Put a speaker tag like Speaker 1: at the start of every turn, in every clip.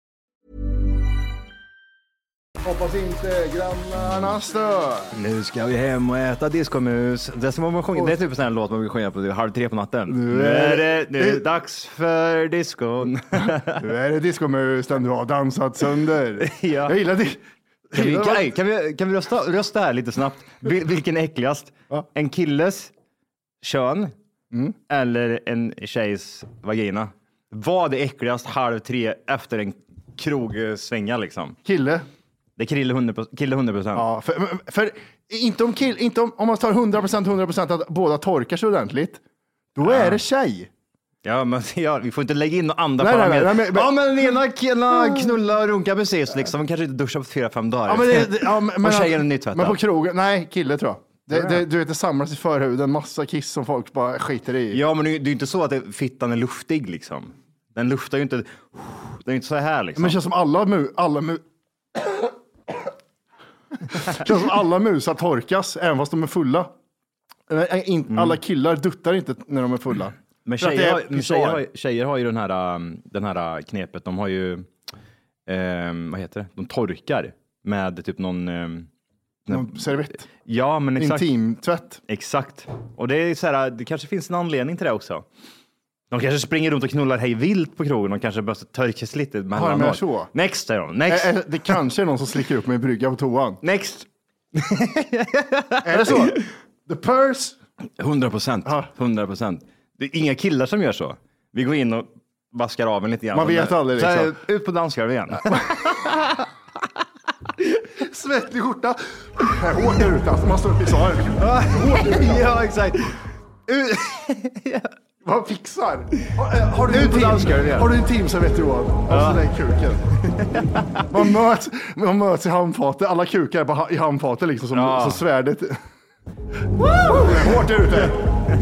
Speaker 1: Hoppas inte grannarna stör.
Speaker 2: Nu ska vi hem och äta diskomus. Det, är som om man sjunger, det är typ en sån här låt man brukar sjunga på halv tre på natten. Nu är det, nu är det dags för diskon.
Speaker 1: Nu är det diskomus den du har dansat sönder.
Speaker 2: Ja.
Speaker 1: Jag gillar det.
Speaker 2: Kan vi, kan, kan vi, kan vi rösta, rösta här lite snabbt? Vil, vilken är äckligast?
Speaker 1: Ja.
Speaker 2: En killes kön Mm. eller en tjejs vagina? Vad är äckligast halv tre efter en krogsvänga liksom?
Speaker 1: Kille.
Speaker 2: Det är kille 100%. Kille 100%.
Speaker 1: Ja, för, för inte, om kill, inte om, om man tar 100% 100% att båda torkar sig ordentligt. Då är det tjej.
Speaker 2: Ja, men ja, vi får inte lägga in några andra
Speaker 1: Nej, nej, nej,
Speaker 2: parametrar.
Speaker 1: nej, men- Mm.
Speaker 2: Ja, men den ena killen knullar och runkar precis liksom. De kanske inte duschar på fyra, fem dagar.
Speaker 1: Ja, men det, det- ja, men,
Speaker 2: och tjejen är
Speaker 1: men-
Speaker 2: nytvättad.
Speaker 1: Men på krogen, nej kille tror jag. Det, det, du vet det samlas i förhuden, massa kiss som folk bara skiter i.
Speaker 2: Ja, men det är ju det är ju inte så att det, fittan är luftig liksom. Den luftar ju inte. Den är ju inte så här liksom.
Speaker 1: Men det känns som alla mu, alla mu... Det känns som alla musar torkas, även fast de är fulla. Nej, in, Alla killar duttar inte när de är fulla.
Speaker 2: Mm. Men
Speaker 1: För att det
Speaker 2: tjejer,
Speaker 1: är
Speaker 2: har- men
Speaker 1: pissar.
Speaker 2: tjejer, har, ju- tjejer har ju den här, um, den här uh, knepet. De har ju, ehm, vad heter det? De torkar med typ någon, ehm,
Speaker 1: Någon Servett.
Speaker 2: ja men exakt.
Speaker 1: Intimtvätt.
Speaker 2: Exakt. Och det är så här, det kanske finns en anledning till det också. De kanske springer runt och knullar hej vilt på krogen. De kanske behöver torkas lite mellanåt.
Speaker 1: menar så.
Speaker 2: Next säger de. Next.
Speaker 1: Ä- ä- Eh, Det kanske är någon som slickar upp mig i brygga på toan.
Speaker 2: Next.
Speaker 1: Är det så? The purse.
Speaker 2: 100 procent.
Speaker 1: Ja.
Speaker 2: 100 procent. Det är inga killar som gör så. Vi går in och vaskar av en lite grann.
Speaker 1: Man vet aldrig,
Speaker 2: Så här,
Speaker 1: liksom.
Speaker 2: Ut på dansgolvet igen.
Speaker 1: Svettig skjorta. Hårt där ute. Alltså, man står upp i salen.
Speaker 2: ja, exakt.
Speaker 1: Han fixar. Har, eh, har du,
Speaker 2: Nu
Speaker 1: en team,
Speaker 2: danskar vi igen.
Speaker 1: har du en team som vet Johan? Alltså den kuken. Man möts, man möts i handfatet. Alla kukar är på, ha- i handfatet liksom som,
Speaker 2: Ja.
Speaker 1: som svärdet. Woo! Hårt ute.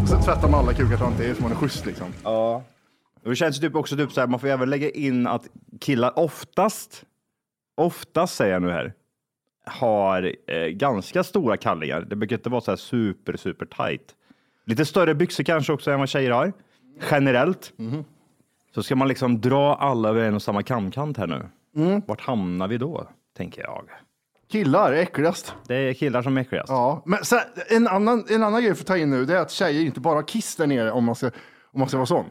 Speaker 1: Och så tvättar man alla kukar fram till så man är schysst liksom.
Speaker 2: Och det känns typ också typ så här, man får även lägga in att killar oftast, oftast säger jag nu här, har eh, ganska stora kallingar. Det brukar inte vara så här super, super tight. Lite större byxor kanske också än vad tjejer har, generellt. Så ska man liksom dra alla över en och samma kamkant här nu.
Speaker 1: Mm.
Speaker 2: Vart hamnar vi då, tänker jag.
Speaker 1: Killar är äckligast.
Speaker 2: Det är killar som är äckligast.
Speaker 1: Ja, men sen, en, annan, en annan grej för att ta in nu det är att tjejer inte bara har kiss där nere om man ska, om man ska vara sån.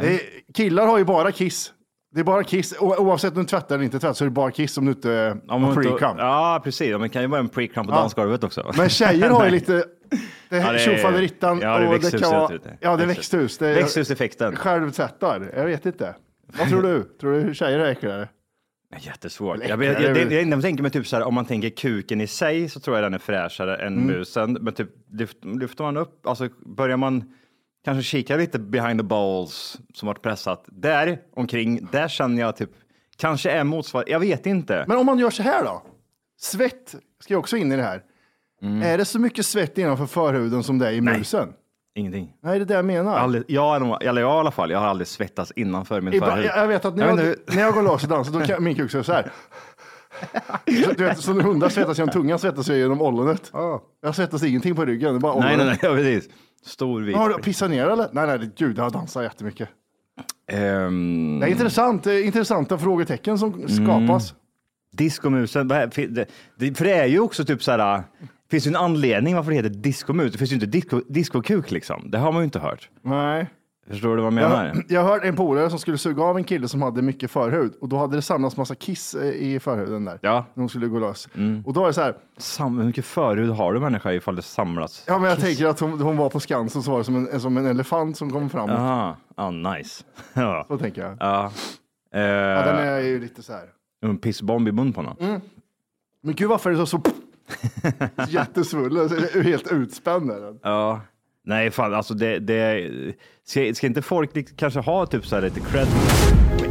Speaker 1: Det är, killar har ju bara kiss. Det är bara kiss. O, oavsett om du tvättar eller inte tvättar så är det bara kiss om du inte
Speaker 2: Om man
Speaker 1: har
Speaker 2: inte-
Speaker 1: pre-cum.
Speaker 2: Ja, precis. Ja, Men det kan ju vara en pre-crump på
Speaker 1: Ja.
Speaker 2: dansgolvet också.
Speaker 1: Men tjejer har ju lite det
Speaker 2: Ja,
Speaker 1: här
Speaker 2: det är-
Speaker 1: tjofaderittan.
Speaker 2: ja, det är
Speaker 1: och det kan vara-
Speaker 2: växthuset.
Speaker 1: Ja, det är växthus. Det är,
Speaker 2: Växthuseffekten.
Speaker 1: Självtvättar. Jag vet inte. Vad tror du? Tror du tjejer är äckligare?
Speaker 2: Jättesvårt.
Speaker 1: Eller
Speaker 2: Jag,
Speaker 1: äckligare
Speaker 2: jag, jag,
Speaker 1: är
Speaker 2: det,
Speaker 1: väl-
Speaker 2: det enda jag tänker mig typ så här, om man tänker kuken i sig så tror jag den är fräschare än
Speaker 1: Mm.
Speaker 2: musen. Men typ lyft, lyfter man upp, alltså börjar man kanske kika lite behind the balls som varit pressat där omkring, där känner jag typ kanske är motsvar. Jag vet inte.
Speaker 1: Men om man gör så här då? Svett ska ju också in i det här.
Speaker 2: Mm.
Speaker 1: Är det så mycket svett innanför förhuden som det är i musen?
Speaker 2: Ingenting.
Speaker 1: Nej, det är det jag menar.
Speaker 2: Jag har Aldrig, jag, är nog- eller jag i alla fall, jag har aldrig svettats innanför min
Speaker 1: Ibland-
Speaker 2: förhud.
Speaker 1: jag, jag vet att när jag,
Speaker 2: vet inte hur-
Speaker 1: när jag går loss och dansar, då kan min kuk säga så här. Så, du vet, som hundar svettas genom tungan svettas jag genom ollonet. Jag svettas ingenting på ryggen, det är bara
Speaker 2: Nej,
Speaker 1: ollonet.
Speaker 2: nej, nej, ja, precis. Stor vit.
Speaker 1: Har du pissat ner eller? Nej, nej, gud, jag dansar jättemycket.
Speaker 2: Ehm,
Speaker 1: Det är intressant, eh, intressanta frågetecken som skapas.
Speaker 2: Diskomusen, vad är- fi- det- det- för det är ju också typ så här, äh, det finns ju en anledning varför det heter diskomus. Det finns ju inte disco, diskokuk liksom. Det har man ju inte hört.
Speaker 1: Nej.
Speaker 2: Förstår du vad jag menar?
Speaker 1: Jag, jag hörde en polare som skulle suga av en kille som hade mycket förhud och då hade det samlats massa kiss eh, i förhuden där.
Speaker 2: Ja. Mm.
Speaker 1: När de skulle gå loss. Och då är det så här,
Speaker 2: Sam, hur mycket förhud har du människa ifall det samlas?
Speaker 1: ja men jag tänker att hon, hon var på Skansen så var det som en, som en elefant som kom fram.
Speaker 2: Aha, ah, nice. ja.
Speaker 1: Så tänker jag.
Speaker 2: Ja. Eh,
Speaker 1: Ja, den är Mm. ju lite så här.
Speaker 2: En pissbomb i munnen på honom.
Speaker 1: Men gud varför är det så, så jättesvullen, så- helt utspänd är den.
Speaker 2: Ja. Nej, fan alltså det, det ska, ska inte folk li- kanske ha typ så här lite cred?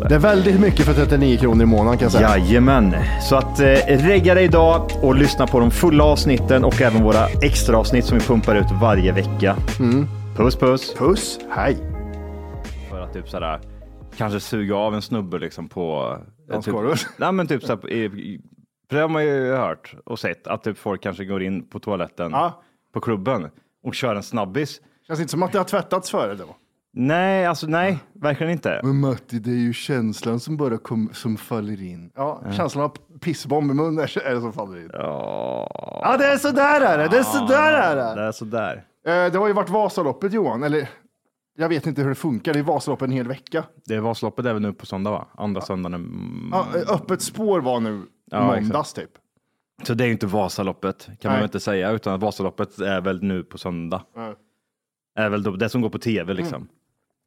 Speaker 2: det.
Speaker 1: Det är väldigt mycket för 39 kronor i månaden kan jag säga.
Speaker 2: Jajamän, så att eh, regga dig idag och lyssna på de fulla avsnitten och även våra extra avsnitt som vi pumpar ut varje vecka.
Speaker 1: Mm.
Speaker 2: Puss puss!
Speaker 1: Puss, hej.
Speaker 2: För att typ sådär, kanske suga av en snubbe liksom på... eh,
Speaker 1: Dansgolvet.
Speaker 2: Typ, nej men typ såhär, i- i- för det har man ju hört och sett att typ folk kanske går in på toaletten
Speaker 1: Ja.
Speaker 2: på klubben och kör en snabbis.
Speaker 1: Känns inte som att det har tvättats före då.
Speaker 2: Nej, alltså nej, verkligen inte.
Speaker 1: Men Matti, det är ju känslan som bara kom, som faller in. Ja, känslan av pissbomb i munnen är är det som faller in. Ja, det är sådär är det. Det är sådär är det.
Speaker 2: Det är sådär.
Speaker 1: Eh, Det har ju varit Vasaloppet Johan, eller jag vet inte hur det funkar. Det är Vasaloppet en hel vecka.
Speaker 2: Det var sloppet även nu på söndag va? Andra söndagen. mm.
Speaker 1: Ja, eh, öppet spår var nu
Speaker 2: Ja,
Speaker 1: måndags typ.
Speaker 2: Så det är ju inte Vasaloppet, kan man
Speaker 1: Nej.
Speaker 2: väl inte säga, utan att Vasaloppet är väl nu på söndag.
Speaker 1: Ja. Mm.
Speaker 2: Är väl då- det som går på tv liksom.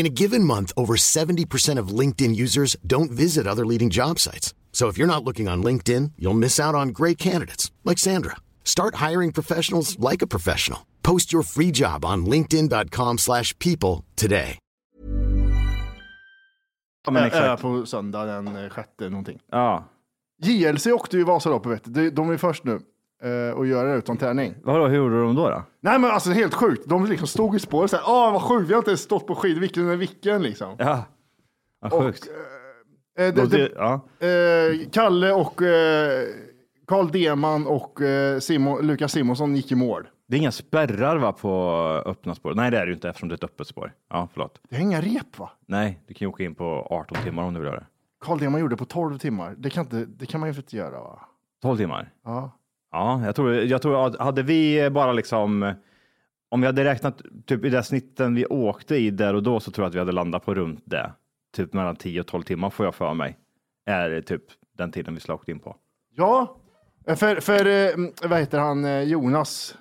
Speaker 3: In a given month, over 70% of LinkedIn users don't visit other leading job sites. So if you're not looking on LinkedIn, you'll miss out on great candidates like Sandra. Start hiring professionals like a professional. Post your free job on linkedin.com/people slash people today.
Speaker 1: Ja,
Speaker 2: men
Speaker 1: men
Speaker 2: exakt.
Speaker 1: på söndag den eh, sjätte någonting.
Speaker 2: Äh, Ja.
Speaker 1: JLC åkte ju Vasaloppet, vet du. De- de är först nu eh, och gör det utan träning.
Speaker 2: Vadå, hur gjorde de då? då?
Speaker 1: Nej men alltså helt sjukt. De liksom stod i spåret såhär, ah vad sjukt, vi har inte ens stått på skidor, vilken är vilken liksom.
Speaker 2: Ja, ja sjukt.
Speaker 1: Eh, det,
Speaker 2: Och
Speaker 1: det,
Speaker 2: det, ja.
Speaker 1: eh, Kalle och eh, Carl Deman och eh, Simo, Lukas Simonsson gick i mål.
Speaker 2: det är inga spärrar va, på öppna spår? Nej, det är det ju inte eftersom det är ett öppet spår. Ja, förlåt.
Speaker 1: Det är inga rep va?
Speaker 2: Nej, du kan ju åka in på 18 timmar om du vill göra det.
Speaker 1: Carl Deman gjorde på 12 timmar. Det kan, inte, det kan man ju inte göra va?
Speaker 2: 12 timmar?
Speaker 1: Ja.
Speaker 2: Ja, jag tror, jag tror att hade vi bara liksom, om vi hade räknat typ i det snitten vi åkte i där och då så tror jag att vi hade landat på runt det. Typ mellan 10 och 12 timmar får jag för mig. Är det typ den tiden vi skulle ha åkt in på.
Speaker 1: Ja, eh, för, för eh, vad heter han, eh, Jonas,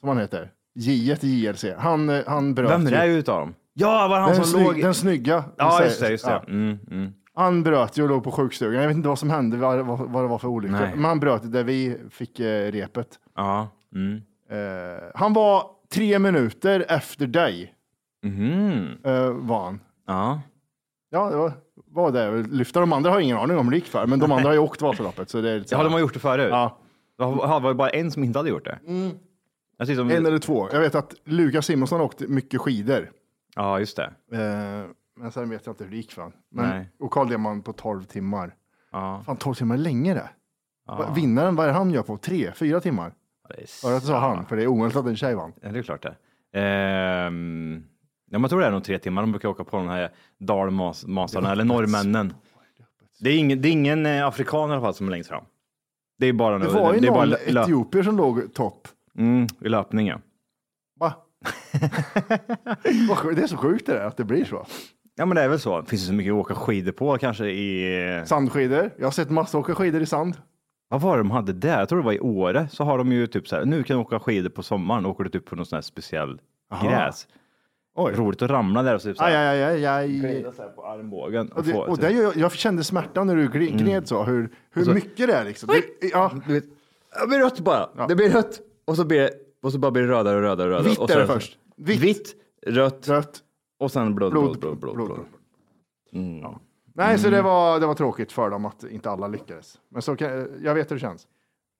Speaker 1: som han heter, J JLC, han, eh, han bröt
Speaker 2: Vem är det
Speaker 1: ju.
Speaker 2: utav dem? Ja, var han
Speaker 1: den,
Speaker 2: som
Speaker 1: sny-
Speaker 2: låg...
Speaker 1: den snygga.
Speaker 2: Ja,
Speaker 1: Så-
Speaker 2: just det. Just det.
Speaker 1: ja.
Speaker 2: Mm, mm.
Speaker 1: Han bröt ju och låg på sjukstugan. Jag vet inte vad som hände, vad, vad, vad det var för olycka.
Speaker 2: Nej.
Speaker 1: Men han bröt där vi fick eh, repet.
Speaker 2: Ja. Mm.
Speaker 1: Eh, han var tre minuter efter dig,
Speaker 2: Mhm.
Speaker 1: eh, var han.
Speaker 2: Ja.
Speaker 1: Ja, det var, var det jag ville lyfta. De andra har jag ingen aning om hur det gick för, men de andra har ju åkt Vasaloppet. Så det är lite så
Speaker 2: ja,
Speaker 1: här-
Speaker 2: de har gjort det förut.
Speaker 1: Ja.
Speaker 2: Det var var ju bara en som inte hade gjort det. Jag tyckte de...
Speaker 1: Mm. En eller två. Jag vet att Lukas Simonsson har åkt mycket skidor.
Speaker 2: Ja, just det.
Speaker 1: Eh, men sen vet jag inte hur det gick för han. Men-
Speaker 2: Nej.
Speaker 1: Och Carl Lehmann på 12 timmar.
Speaker 2: Ja.
Speaker 1: Fan, 12 timmar är länge det.
Speaker 2: Ja.
Speaker 1: Vinnaren, vad är det han gör på? Tre, fyra timmar?
Speaker 2: Det är
Speaker 1: Hörde att du sa han, för det är omöjligt att en tjej vann.
Speaker 2: Ja, det är klart det. Ehm, ja, man tror det är nog tre timmar. De brukar åka på de här dalmasarna eller norrmännen. Det är ingen, det är ingen eh, afrikan i alla fall som är längst fram. Det är bara
Speaker 1: Det var ju
Speaker 2: är bara
Speaker 1: någon
Speaker 2: lö-
Speaker 1: etiopier som låg topp.
Speaker 2: mm, i löpningen.
Speaker 1: Va? Vad sjukt, det är så sjukt det där, att det blir så.
Speaker 2: Ja, men det är väl så. Finns det så mycket att åka skidor på kanske i... eh,
Speaker 1: Sandskidor. Jag har sett massor åka skidor i sand.
Speaker 2: Vad var det de hade där? Jag tror det var i Åre. Så har de ju typ så här, nu kan du åka skidor på sommaren. Då åker du typ på någon sån här speciell
Speaker 1: Aha.
Speaker 2: gräs.
Speaker 1: Oj.
Speaker 2: Roligt att ramla där och så typ så
Speaker 1: Aj,
Speaker 2: här,
Speaker 1: aj, aj, aj, aj.
Speaker 2: glida så här på armbågen.
Speaker 1: Och det,
Speaker 2: få- typ
Speaker 1: och det, gör jag, jag kände smärta när du
Speaker 2: Mm.
Speaker 1: gri- gned så, hur, hur
Speaker 2: Alltså-
Speaker 1: mycket det är liksom. Det, ja,
Speaker 4: Du vet, det blir rött bara. Det blir rött och så, blir, och så bara blir det rödare och rödare och rödare.
Speaker 1: Vitt
Speaker 4: och så
Speaker 1: är det först.
Speaker 4: Vitt, rött,
Speaker 1: rött.
Speaker 2: Och sen blod, blod,
Speaker 1: Blod,
Speaker 2: blod, blod. blod,
Speaker 1: blod,
Speaker 2: Mm.
Speaker 1: Nej, så det var, det var tråkigt för dem att inte alla lyckades. Men så kan, jag vet hur det känns.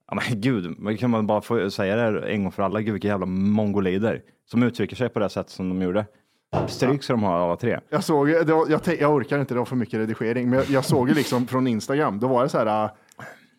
Speaker 2: Ja, men gud, men kan man bara få säga det här en gång för alla? Gud, vilka jävla mongolider som uttrycker sig på det här sättet som de gjorde. Stryk ska de ha alla tre.
Speaker 1: Jag såg, ju- det var, jag, te- jag orkar inte, det var för mycket redigering, men jag, jag såg ju liksom från Instagram, då var det så här, äh,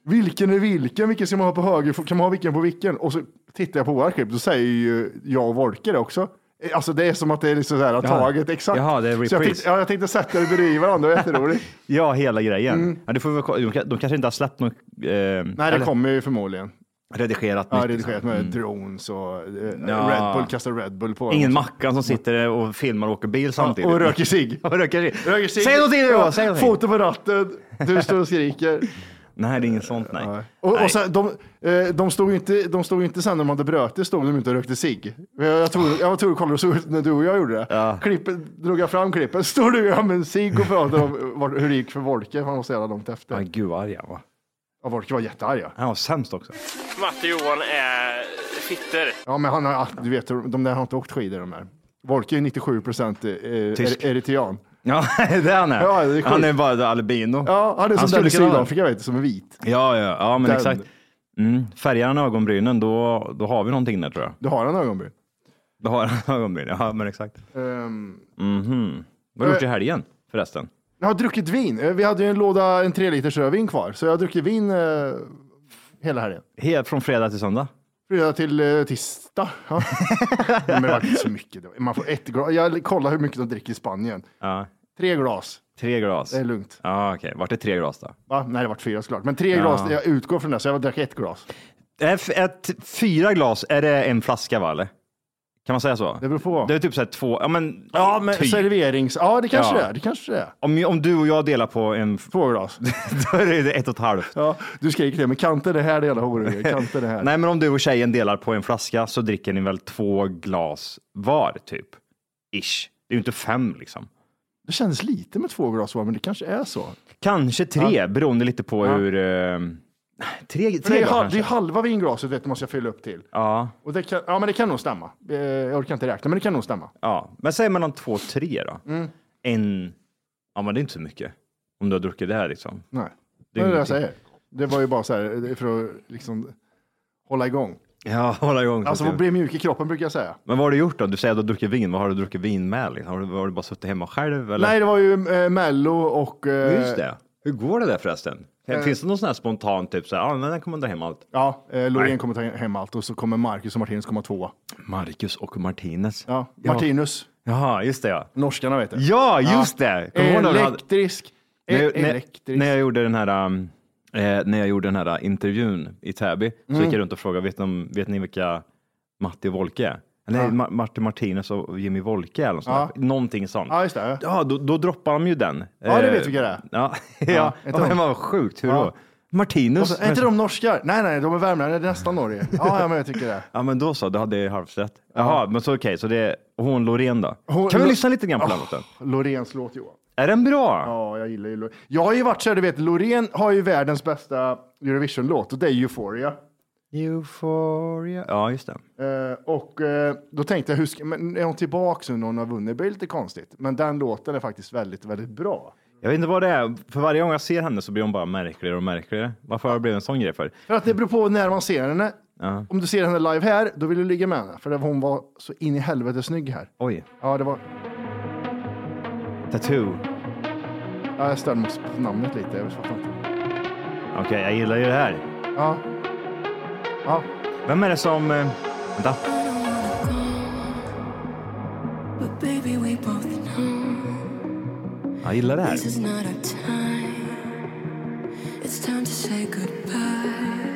Speaker 1: vilken är vilken, vilken ska man ha på höger, kan man ha vilken på vilken? Och så tittar jag på våra klipp, då säger ju jag och Wolke det också. Eh, Alltså det är som att det är liksom så här, taget exakt.
Speaker 2: Jaha, det är
Speaker 1: så jag,
Speaker 2: reprise.
Speaker 1: tänkte, ja, jag tänkte sätta det bredvid varandra, det var jätteroligt.
Speaker 2: Ja, hela grejen. Ja, du får väl, ko- de, ka- de kanske inte har släppt något. Eh,
Speaker 1: Mm. Nej, det
Speaker 2: eller
Speaker 1: kommer ju förmodligen.
Speaker 2: Redigerat
Speaker 1: Ja,
Speaker 2: nytt.
Speaker 1: redigerat med drones och eh,
Speaker 2: Mm. Ja.
Speaker 1: Red Bull, kastar Red Bull på dem.
Speaker 2: Ingen Mackan som sitter och filmar och åker bil samtidigt.
Speaker 1: Och röker cigg.
Speaker 2: Och röker sig.
Speaker 1: Röker cigg.
Speaker 2: Säg någonting nu då! Säg
Speaker 1: Ja,
Speaker 2: någonting.
Speaker 1: Foto på ratten, du står och skriker.
Speaker 2: Nej, det är inget sånt. Nej.
Speaker 1: Och,
Speaker 2: Nej.
Speaker 1: och sen, de, eh, de, stod ju inte, de stod ju inte sen när de hade brötit, stod de inte och rökte cigg. Jag, jag tror jag var tur och kollade och såg ut när du och jag gjorde det. Klippet, drog jag fram klippet, står du och gör med en cigg och pratar om var, hur det gick för Wolke, för han var så jävla långt
Speaker 2: Ja,
Speaker 1: efter.
Speaker 2: gud vad arg han var.
Speaker 1: Ja, Wolke var jättearg. ja.
Speaker 2: Han var sämst också.
Speaker 5: Matte och Johan är fitter.
Speaker 1: Ja, men han har, du vet, de där har inte åkt skidor de här. Wolke är 97 procent eh,
Speaker 2: Tysk.
Speaker 1: er, eritrean.
Speaker 2: Ja, det är han är.
Speaker 1: Ja, det är sjukt.
Speaker 2: han är bara albino.
Speaker 1: Ja, han är som den i Sydafrika, vet du, som är vit.
Speaker 2: Ja, ja, ja men
Speaker 1: Den.
Speaker 2: exakt. Mm. Färgar han ögonbrynen, då, då har vi någonting där tror jag.
Speaker 1: Du har en ögonbryn.
Speaker 2: Då har han ögonbrynen, ja men exakt.
Speaker 1: Ehm,
Speaker 2: Mhm. Vad har du gjort i
Speaker 1: Eh.
Speaker 2: helgen förresten?
Speaker 1: Jag har druckit vin. Eh, Vi hade ju en låda, en tre liters rödvin kvar, så jag har druckit vin eh, hela helgen.
Speaker 2: Helt från fredag till söndag?
Speaker 1: Fredag till eh, tisdag. Ja. Men det var inte så mycket. då. Man får ett glas. Jag kollar hur mycket de dricker i Spanien.
Speaker 2: Ja.
Speaker 1: Tre glas.
Speaker 2: Tre glas?
Speaker 1: Det är lugnt.
Speaker 2: Ja, okej. Vart är tre glas då?
Speaker 1: Va? Nej, det vart fyra såklart. Men tre
Speaker 2: Ja.
Speaker 1: glas, jag utgår från det, så jag drack ett glas.
Speaker 2: Är f- Ett, fyra glas, är det en flaska va, eller? Kan man säga så?
Speaker 1: Det beror på.
Speaker 2: Det är typ så här två, ja men,
Speaker 1: Ja, men
Speaker 2: typ.
Speaker 1: serverings... Ja, det kanske
Speaker 2: Ja.
Speaker 1: det är. Det kanske det är.
Speaker 2: Om, om du och jag delar på en...
Speaker 1: Två glas.
Speaker 2: Då är det ett och ett halvt.
Speaker 1: Ja, du skriker det, men kan inte det här det jävla horunge? Kan inte det här?
Speaker 2: Nej, men om du och tjejen delar på en flaska så dricker ni väl två glas var, typ? Ish. Det är ju inte fem liksom.
Speaker 1: Det känns lite med två glas, va, men det kanske är så.
Speaker 2: Kanske tre, beroende lite på
Speaker 1: Ja.
Speaker 2: hur... Eh, Tre,
Speaker 1: För det,
Speaker 2: tre
Speaker 1: är,
Speaker 2: då,
Speaker 1: hal-
Speaker 2: kanske?
Speaker 1: det är halva vinglaset vet du, måste jag fylla upp till.
Speaker 2: Ja.
Speaker 1: Och det kan, ja, men det kan nog stämma. Eh, Jag orkar inte räkna, men det kan nog stämma.
Speaker 2: ja. Men säg mellan två och tre då.
Speaker 1: Mm.
Speaker 2: En... Ja, men det är inte så mycket. Om du har druckit det här liksom.
Speaker 1: Nej, det
Speaker 2: Det är
Speaker 1: är det
Speaker 2: ingenting.
Speaker 1: jag säger. Det var ju bara så här det är för att liksom hålla igång.
Speaker 2: Ja, hålla igång.
Speaker 1: Alltså, att bli mjuk i kroppen brukar jag säga.
Speaker 2: Men vad har du gjort då? Du säger att du har druckit vin. Vad har du druckit vin med? Liksom? Har, du, har du bara suttit hemma själv? Eller?
Speaker 1: Nej, det var ju eh, Mello och... Eh,
Speaker 2: Just det. Hur går det där förresten?
Speaker 1: Eh.
Speaker 2: Finns det någon sån här spontan typ så här, ja, men den kommer dra hem allt?
Speaker 1: Ja, eh,
Speaker 2: Nej.
Speaker 1: Loreen kommer ta hem allt och så kommer Marcus och Martinus komma tvåa.
Speaker 2: Marcus och Martinez.
Speaker 1: Ja,
Speaker 2: Ja.
Speaker 1: Martinus.
Speaker 2: Jaha, just det ja.
Speaker 1: Norskarna vet du.
Speaker 2: Ja, just det! Kommer du
Speaker 1: Eh,
Speaker 2: ihåg när vi hade-
Speaker 1: Elektrisk.
Speaker 2: När jag, när,
Speaker 1: Elektrisk.
Speaker 2: när jag gjorde den här um, eh, när jag gjorde den här intervjun i Täby så
Speaker 1: Mm.
Speaker 2: gick jag runt och frågade, vet ni, vet ni vilka Matti och Wolke är? Eller
Speaker 1: Ja.
Speaker 2: Ma- Martin Martinez och Jimmy Wolke eller något sånt. där. Någonting sånt.
Speaker 1: Ja, just det.
Speaker 2: Ja, då, då droppar de ju den.
Speaker 1: Ja, det
Speaker 2: Eh,
Speaker 1: vet vilka det är.
Speaker 2: Ja, ja.
Speaker 1: Ja,
Speaker 2: ja
Speaker 1: inte
Speaker 2: men
Speaker 1: de.
Speaker 2: vad sjukt. Hur
Speaker 1: Ja.
Speaker 2: då? Martinus?
Speaker 1: Och så, är inte de norskar? Nej, nej, de är värmländare. Det är nästan Norge. Ja, ja, men jag tycker det.
Speaker 2: Ja, men då så, då hade jag ju halvt rätt. Jaha, men så okej, så det är hon Loreen då.
Speaker 1: Hon-
Speaker 2: kan vi
Speaker 1: Lo-
Speaker 2: lyssna lite grann på
Speaker 1: Oh,
Speaker 2: den låten?
Speaker 1: Loreens låt, Johan.
Speaker 2: Är den bra?
Speaker 1: Ja, jag gillar ju Loreen. Jag har ju varit så här, du vet, Loreen har ju världens bästa Eurovision-låt och det är Euphoria.
Speaker 2: Euphoria. Ja, just det.
Speaker 1: Eh, och eh, då tänkte jag, hur ska, men är hon tillbaka nu när hon har vunnit? Det blir lite konstigt. Men den låten är faktiskt väldigt, väldigt bra.
Speaker 2: Jag vet inte vad det är, för varje gång jag ser henne så blir hon bara märkligare och märkligare. Varför har det blivit en sån grej för?
Speaker 1: För att det beror på när man ser henne.
Speaker 2: Ja.
Speaker 1: Om du ser henne live här, då vill du ligga med henne. För hon var så in i helvete snygg här.
Speaker 2: Oj,
Speaker 1: Ja, det var...
Speaker 2: Tattoo.
Speaker 1: Ja, jag störde mig på namnet lite. Jag fattar inte.
Speaker 2: Okej, jag gillar ju det här.
Speaker 1: Ja. Ja.
Speaker 2: Vem är det som... eh, Vänta.
Speaker 6: But baby, we both know
Speaker 2: Jag gillar det här.
Speaker 6: this is not our time. It's time to say goodbye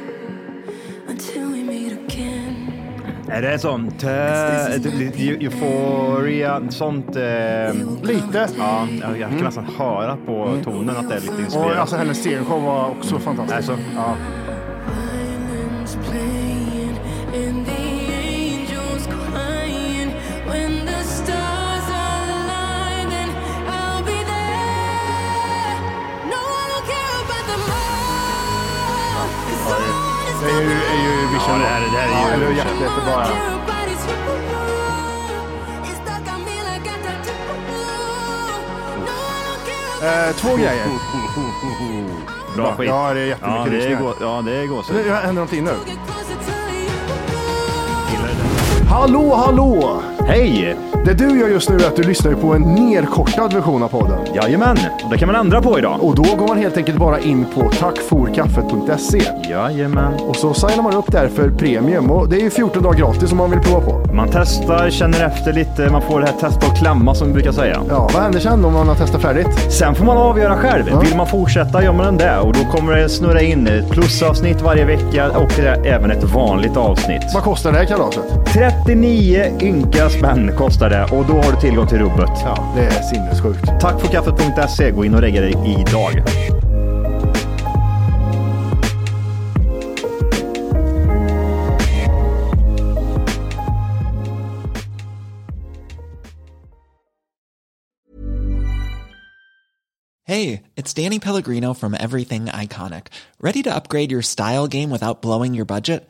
Speaker 6: until we meet again.
Speaker 2: Är det sånt... Uh, euphoria, sånt... eh,
Speaker 1: Lite.
Speaker 2: Ja, jag jag kan nästan höra på tonen att det är lite
Speaker 1: Och
Speaker 2: inspirerat.
Speaker 1: alltså hennes scenshow var också fantastisk.
Speaker 2: Alltså.
Speaker 1: Ja.
Speaker 6: Violins playing and the angels crying. When the stars align, then I'll be there. No one will care about the moon. 'Cause
Speaker 1: Ja, det, det är ju, är ju Vision.
Speaker 2: Ja, det här- det här är ju
Speaker 1: ja, det
Speaker 2: Eurovision.
Speaker 1: jätte, jättebra. Ja.
Speaker 6: everybody's wrong. It's stuck on me like a tattoo. No one will care
Speaker 1: Eh, två grejer.
Speaker 2: Bra skit.
Speaker 1: Ja, det är jättemycket
Speaker 2: ja, det är
Speaker 1: lyssningar.
Speaker 2: gå, Ja, det är gåshud.
Speaker 1: Nu händer någonting nu.
Speaker 2: Gillar det.
Speaker 1: Hallå, hallå!
Speaker 2: Hej!
Speaker 1: Det du gör just nu är att du lyssnar på en nedkortad version av podden.
Speaker 2: Jajamän, och det kan man ändra på idag.
Speaker 1: Och då går man helt enkelt bara in på tackforkaffet.se.
Speaker 2: Jajamän.
Speaker 1: Och så signar man upp där för premium. Och det är ju 14 dagar gratis om man vill prova på.
Speaker 2: Man testar, känner efter lite, man får det här testa och klämma som vi brukar säga.
Speaker 1: Ja, vad händer sen om man har testat färdigt?
Speaker 2: Sen får man avgöra själv. Vill man fortsätta gör man det och då kommer det snurra in ett plusavsnitt varje vecka och det är även ett vanligt avsnitt.
Speaker 1: Vad kostar det här kalaset?
Speaker 2: 39 ynka spänn kostar det och då har du tillgång till rubbet.
Speaker 1: Ja, det är sinnessjukt.
Speaker 2: Tack för kaffet.se. E. Gå in och lägg dig idag.
Speaker 7: Hey, it's Danny Pellegrino from Everything Iconic. Ready to upgrade your style game without blowing your budget?